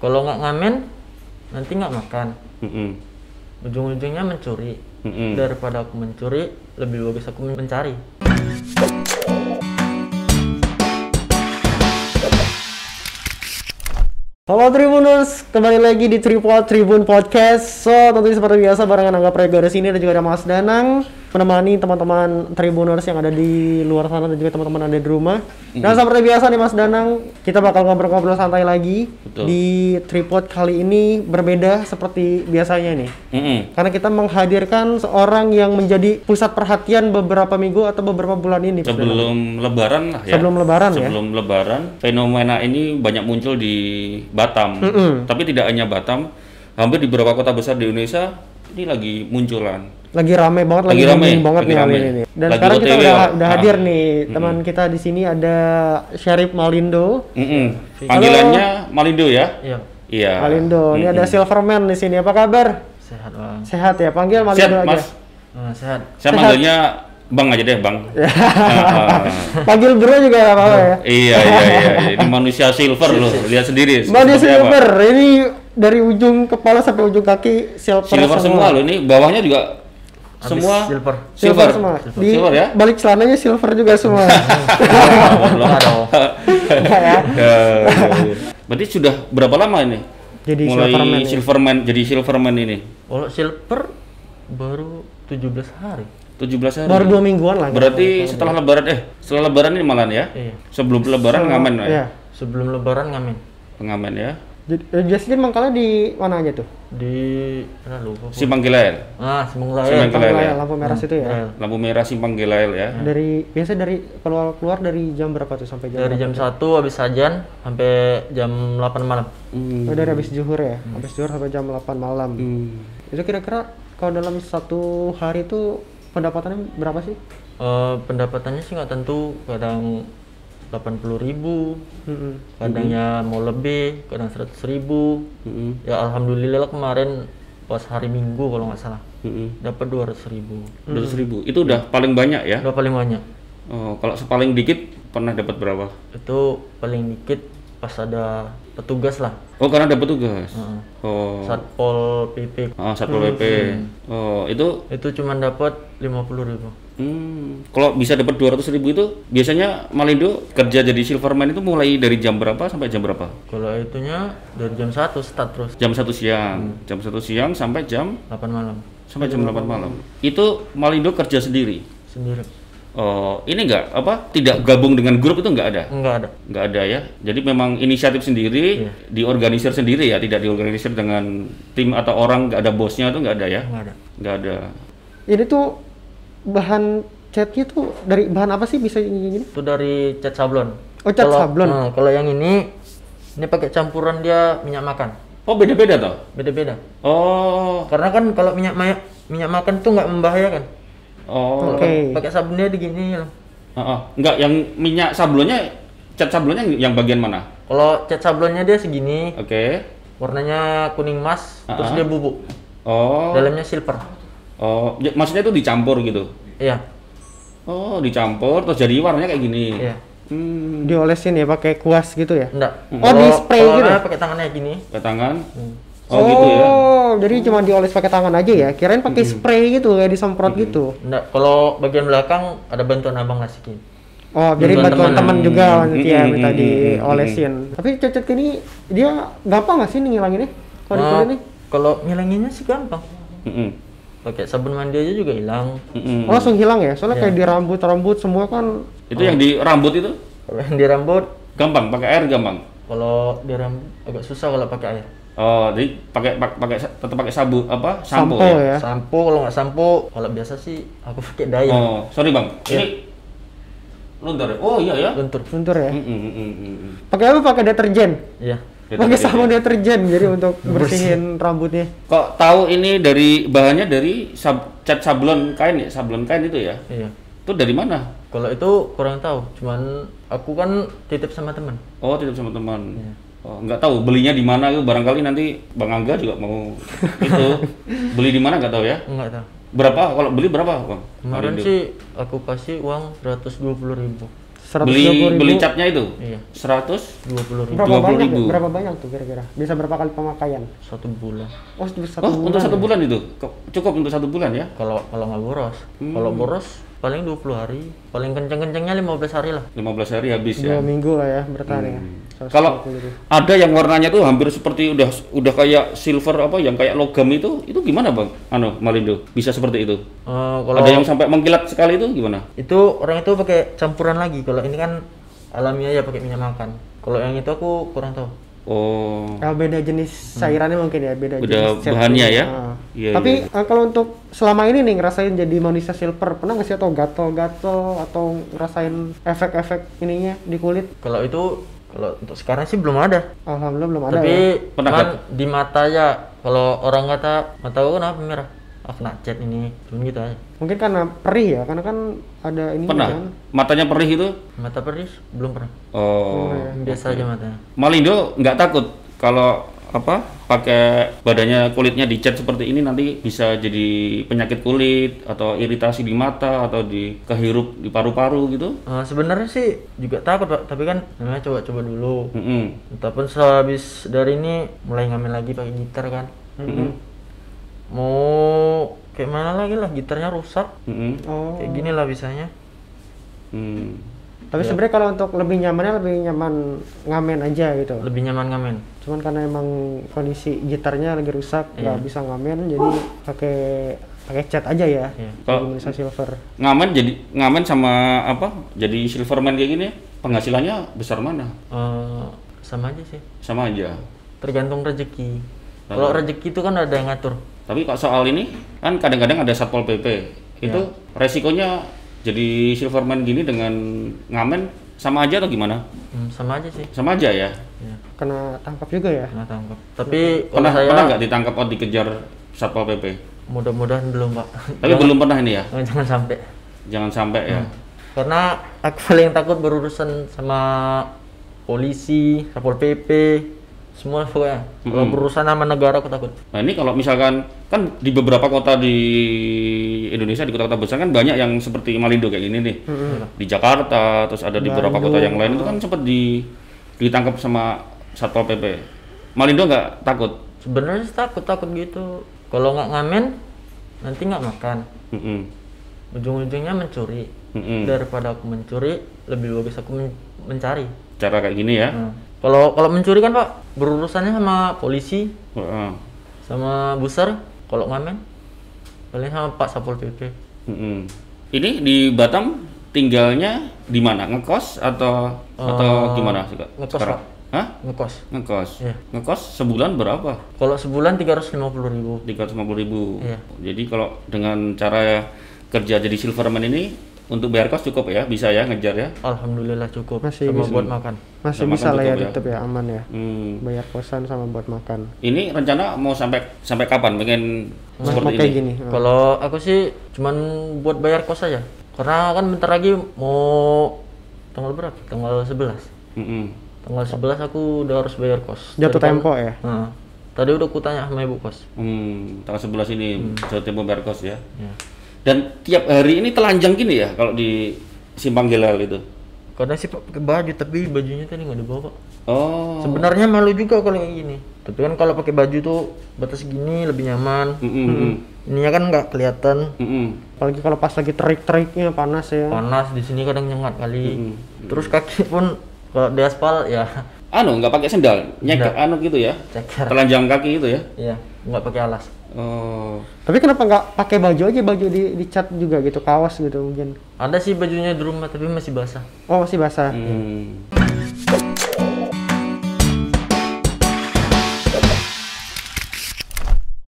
Kalau nggak ngamen, nanti nggak makan. Mm-mm. Ujung-ujungnya mencuri. Mm-mm. Daripada aku mencuri, lebih bagus aku men- mencari. Halo Tribuners, kembali lagi di Tripod Tribun Podcast. So, tentunya seperti biasa barengan Angga Prego di sini dan juga ada Mas Danang menemani teman-teman Tribuners yang ada di luar sana dan juga teman-teman ada di rumah. Dan seperti biasa nih Mas Danang, kita bakal ngobrol-ngobrol santai lagi Betul. di Tripod kali ini berbeda seperti biasanya nih. Mm-mm. Karena kita menghadirkan seorang yang menjadi pusat perhatian beberapa minggu atau beberapa bulan ini. Mas Danang. Sebelum Lebaran lah ya. Sebelum Lebaran ya. Sebelum Lebaran, fenomena ini banyak muncul di Batam. Tapi tidak hanya Batam, hampir di beberapa kota besar di Indonesia ini lagi munculan. lagi rame banget Lagi lagi, rame, booming banget lagi nih kali rame. ini nih. dan Lagi sekarang kita OTW udah, ya? udah Ah. hadir nih teman kita di sini ada Syarif Malindo Mm-mm. Panggilannya Malindo ya? Iya, Iya. Malindo ini ada Silverman di sini apa kabar sehat bang. sehat ya panggil Siap, Malindo aja Mas. Eh, sehat. Saya manggilnya Bang aja deh, Bang. Ah, panggil Bro juga nggak apa-apa ya iya, iya, iya. Ini manusia silver loh. Lihat sendiri. Mbak dia seperti apa. silver ini dari ujung kepala sampai ujung kaki silver, Silver semua loh. Ini bawahnya juga semua silver. silver semua di Silver ya? balik celananya silver juga semua Nggak dong. Enggak ya Ya, ya, ya. Berarti sudah berapa lama ini? jadi Mulai Silverman Silverman, ya. jadi Silverman ini Kalau silver baru 17 hari. 17 hari. baru dua mingguan lah Berarti setelah lebaran eh setelah lebaran ini malahan ya. Iya. Sebelum lebaran ngamen ya. ya Sebelum Lebaran ngamen Pengamen ya. jadi eh, biasanya mangkalnya di mana aja tuh di mana lupa. Si Panggilael. Ah, Iya. Semung Si Raya. Panggilael ya. Layang lampu merah situ ya. Lampu merah si Panggilael ya. Dari biasa dari keluar keluar dari jam berapa tuh sampai jam? Dari jam 1 habis sajan sampai jam 8 malam. Hmm. Oh, dari habis zuhur ya. Habis zuhur sampai jam 8 malam. Itu kira-kira kalau dalam satu hari itu pendapatannya berapa sih? Eh, pendapatannya sih nggak tentu kadang 80.000 Hmm. Mm-mm. kadang ya mau lebih kadang 100.000 Mm-mm. ya alhamdulillah lah kemarin pas hari minggu kalau nggak salah Mm-mm. dapat 200.000 Dua ribu. Itu udah paling banyak ya. udah paling banyak Oh, kalau sepaling dikit pernah dapat berapa? itu paling dikit pas ada petugas lah Oh, karena dapat tugas. Oh. satpol pp Ah, Satpol PP. Oh, itu itu cuma dapat 50.000 Hmm, kalau bisa dapat 200.000 ribu itu biasanya Malindo kerja jadi silverman itu mulai dari jam berapa sampai jam berapa? kalau itunya dari jam 1 start terus Jam satu siang, jam satu siang sampai jam 8 malam sampai jam 8 malam. Itu Malindo kerja sendiri. sendiri Oh, ini enggak apa? Tidak gabung dengan grup itu enggak ada. enggak ada Enggak ada ya. Jadi memang inisiatif sendiri, diorganisir sendiri ya, tidak diorganisir dengan tim atau orang enggak ada bosnya itu enggak ada ya. enggak ada Enggak ada. Ini tuh bahan catnya tuh dari bahan apa sih bisa gini? gini? itu dari cat sablon. Oh, cat Kalau- sablon. Nah, kalau yang ini ini pakai campuran dia minyak makan. Oh, beda-beda toh. Beda-beda. Oh. Karena kan kalau minyak ma- minyak makan tuh nggak membahayakan. Oh. Oke. Pakai sabun dia digini loh. Ah, ah. Enggak, yang minyak sablonnya, cat sablonnya yang bagian mana? Kalau cat sablonnya dia segini, Oke. warnanya kuning emas, Ah. terus dia bubuk. Oh, Dalamnya silver. oh, ya, maksudnya itu dicampur gitu? Iya, Oh, dicampur terus jadi warnanya kayak gini. iya. Hmm, Diolesin ya pakai kuas gitu ya? Enggak. Oh, di-spray gitu? pakai tangannya gini. ke tangan. Oh, gitu ya. Hmm. Hmm. Oh, jadi cuma dioles pakai tangan aja ya? Kirain pakai spray gitu kayak disemprot gitu. Enggak. Kalau bagian belakang ada bantuan abang ngasihin. Oh, jadi bantuan teman juga nanti Mm, ya mm, minta mm, diolesin. Tapi cecet ini dia gampang nggak sih nih ngilanginnya? Kalau Ah. Nah, dikulin nih? kalau ngilanginnya sih gampang. Mm-mm. Pakai sabun mandi aja juga hilang. Mm-mm. Oh, langsung hilang ya? Iya. Soalnya kayak di rambut-rambut semua kan hmm. Itu yang di rambut itu Kalau yang di rambut, gampang, pakai air gampang. kalau di rambut agak susah kalau pakai air. Oh, jadi pakai pak- pakai sa- tetap pakai sabu apa? Sampo, sampo ya. ya. Sampo kalau nggak sampo, kalau biasa sih aku pakai iya. daya. Oh, sorry Bang. Ini luntur. ya? Oh, iya ya. hmm, Lentur. Bentur ya. Mm-mm, mm-mm, mm-mm. Pakai apa? Pakai deterjen. Iya. Pakai sabun deterjen jadi untuk bersihin rambutnya. Kok tahu ini dari bahannya dari sab, cat sablon kain ya, sablon kain itu ya? Iya. Itu dari mana? Kalau itu kurang tahu, cuman aku kan titip sama teman. Oh, tidak sama teman. Iya. Oh, nggak tahu belinya di mana itu barangkali nanti Bang Angga juga mau itu beli di mana nggak tahu ya. Enggak tahu. Berapa? Kalau beli berapa, Bang? Kemarin sih aku kasih uang 120.000 ribu. beli 120.000. beli catnya itu Iya. 100 dua puluh ribu Berapa 20.000. banyak? ya? Berapa banyak tuh kira-kira? Bisa berapa kali pemakaian? satu bulan Oh, satu Oh, untuk bulan. satu bulan itu Kok- cukup untuk satu bulan ya kalau kalau nggak boros kalau boros paling 20 hari paling kenceng-kencengnya 15 hari lah 15 hari habis ya Dua minggu lah ya bertahan Mm. ya. kalau 120.000. ada yang warnanya tuh hampir seperti udah udah kayak silver apa yang kayak logam itu itu gimana bang Ano Malindo bisa seperti itu Eh, kalau ada yang sampai mengkilat sekali itu gimana itu orang itu pakai campuran lagi kalau ini kan alamiah ya pakai minyak makan kalau yang itu aku kurang tahu oh Ah, beda jenis cairannya mungkin ya, beda, Beda jenis cairan. bahannya ya? Ah. Iya, Tapi ah, kalau untuk selama ini nih ngerasain jadi manusia silver, pernah nggak sih atau gatel-gatel atau ngerasain efek-efek ininya di kulit? kalau itu kalau untuk sekarang sih belum ada Alhamdulillah belum ada tapi ya. Pernah cuman di mata ya kalau orang kata mata aku kenapa merah ah kena cat ini cuman gitu aja Mungkin karena perih ya, karena kan ada ini kan. pernah matanya perih itu mata perih belum pernah oh Iya, biasa aja matanya Malindo nggak takut kalau apa pakai badannya kulitnya dicat seperti ini nanti bisa jadi penyakit kulit atau iritasi di mata atau di kehirup di paru-paru gitu Eh, sebenarnya sih juga takut pak tapi kan namanya coba-coba dulu Mm-mm. ataupun sehabis dari ini mulai ngamen lagi pakai gitar kan Mm-hmm. mau kayak mana lagi lah gitarnya rusak Mm-mm. Oh. kayak gini lah bisanya Mm. Tapi sebenarnya kalau untuk lebih nyamannya lebih nyaman ngamen aja gitu. lebih nyaman ngamen Cuman karena emang kondisi gitarnya lagi rusak, nggak Iya. bisa ngamen, jadi pakai pakai cat aja ya. Iya. Jadi manusia silver. ngamen jadi ngamen sama apa jadi silverman kayak gini penghasilannya besar mana Eh, sama aja sih sama aja tergantung rezeki kalau rezeki itu kan ada yang ngatur tapi kok soal ini kan kadang-kadang ada satpol pp itu Ya. resikonya jadi silverman gini dengan ngamen sama aja atau gimana Hmm, sama aja sih sama aja ya ya Kena tangkap juga Iya. ya. nggak tangkap tapi kalau pernah saya pernah nggak ditangkap atau dikejar satpol pp mudah-mudahan belum pak tapi belum pernah ini ya jangan, Hmm. jangan sampai jangan sampai ya karena aku paling takut berurusan sama polisi satpol pp semua pokoknya kalau berurusan sama negara aku takut nah ini kalau misalkan kan di beberapa kota di Indonesia di kota-kota besar kan banyak yang seperti Malindo kayak gini nih Mm-hmm. di Jakarta terus ada di beberapa kota yang lain itu kan sempat di ditangkap sama satpol pp Malindo nggak takut sebenarnya sih takut takut gitu kalau nggak ngamen nanti nggak makan Mm-mm. ujung-ujungnya mencuri Hmm. Mm-mm. daripada aku mencuri lebih bagus aku men- mencari cara kayak gini ya Nah, kalau kalau mencuri kan pak berurusannya sama polisi Heeh. sama buser kalau ngamen paling sama pak satpol pp Mm-mm. ini di Batam tinggalnya di mana ngekos atau atau gimana sih Kak, Eh, ngekos, sekarang? Pak. Hah? ngekos Ngekos. Iya. Ngekos sebulan berapa? kalau sebulan 350.000 ribu 350 ribu. Iya. Jadi kalau dengan cara kerja jadi silverman ini untuk bayar kos cukup ya, bisa ya ngejar ya. Alhamdulillah cukup Masih sama bisa. buat makan. Masih Udah bisa makan lah ya tutup ya? tetap ya aman ya. Hmm. Bayar kosan sama buat makan. Ini rencana mau sampai sampai kapan? Pengen seperti Pakai ini. Nah, gini. Kalau aku sih cuman buat bayar kos aja. Karena kan bentar lagi mau tanggal berapa? Tanggal 11. Mm-mm. Tanggal 11 aku udah harus bayar kos. Jatuh tempo ya. Nah, tadi udah ku tanya sama ibu kos. Hmm, tanggal 11 ini jauh tempo bayar kos ya. Ya. Dan tiap hari ini telanjang gini ya kalau di Simpang gitu? Gelal itu. Kadang sih Pak, pakai baju tapi bajunya tadi nggak dibawa Pak. Oh. Sebenarnya malu juga kalau kayak gini. Tapi kan kalau pakai baju tuh batas gini lebih nyaman. Mm-mm, mm-mm, Ininya kan nggak kelihatan. mm-mm. Apalagi kalau pas lagi terik-teriknya panas ya. Panas di sini kadang nyengat kali. Terus kaki pun kalau di aspal ya Anu nggak pakai sendal, nyek anu gitu ya. ceker. Telanjang kaki gitu ya. Iya, nggak pakai alas. Oh. Tapi kenapa nggak pakai baju aja baju di dicat juga gitu kaos gitu mungkin. Ada sih bajunya di rumah tapi masih basah. Oh masih basah. Hmm.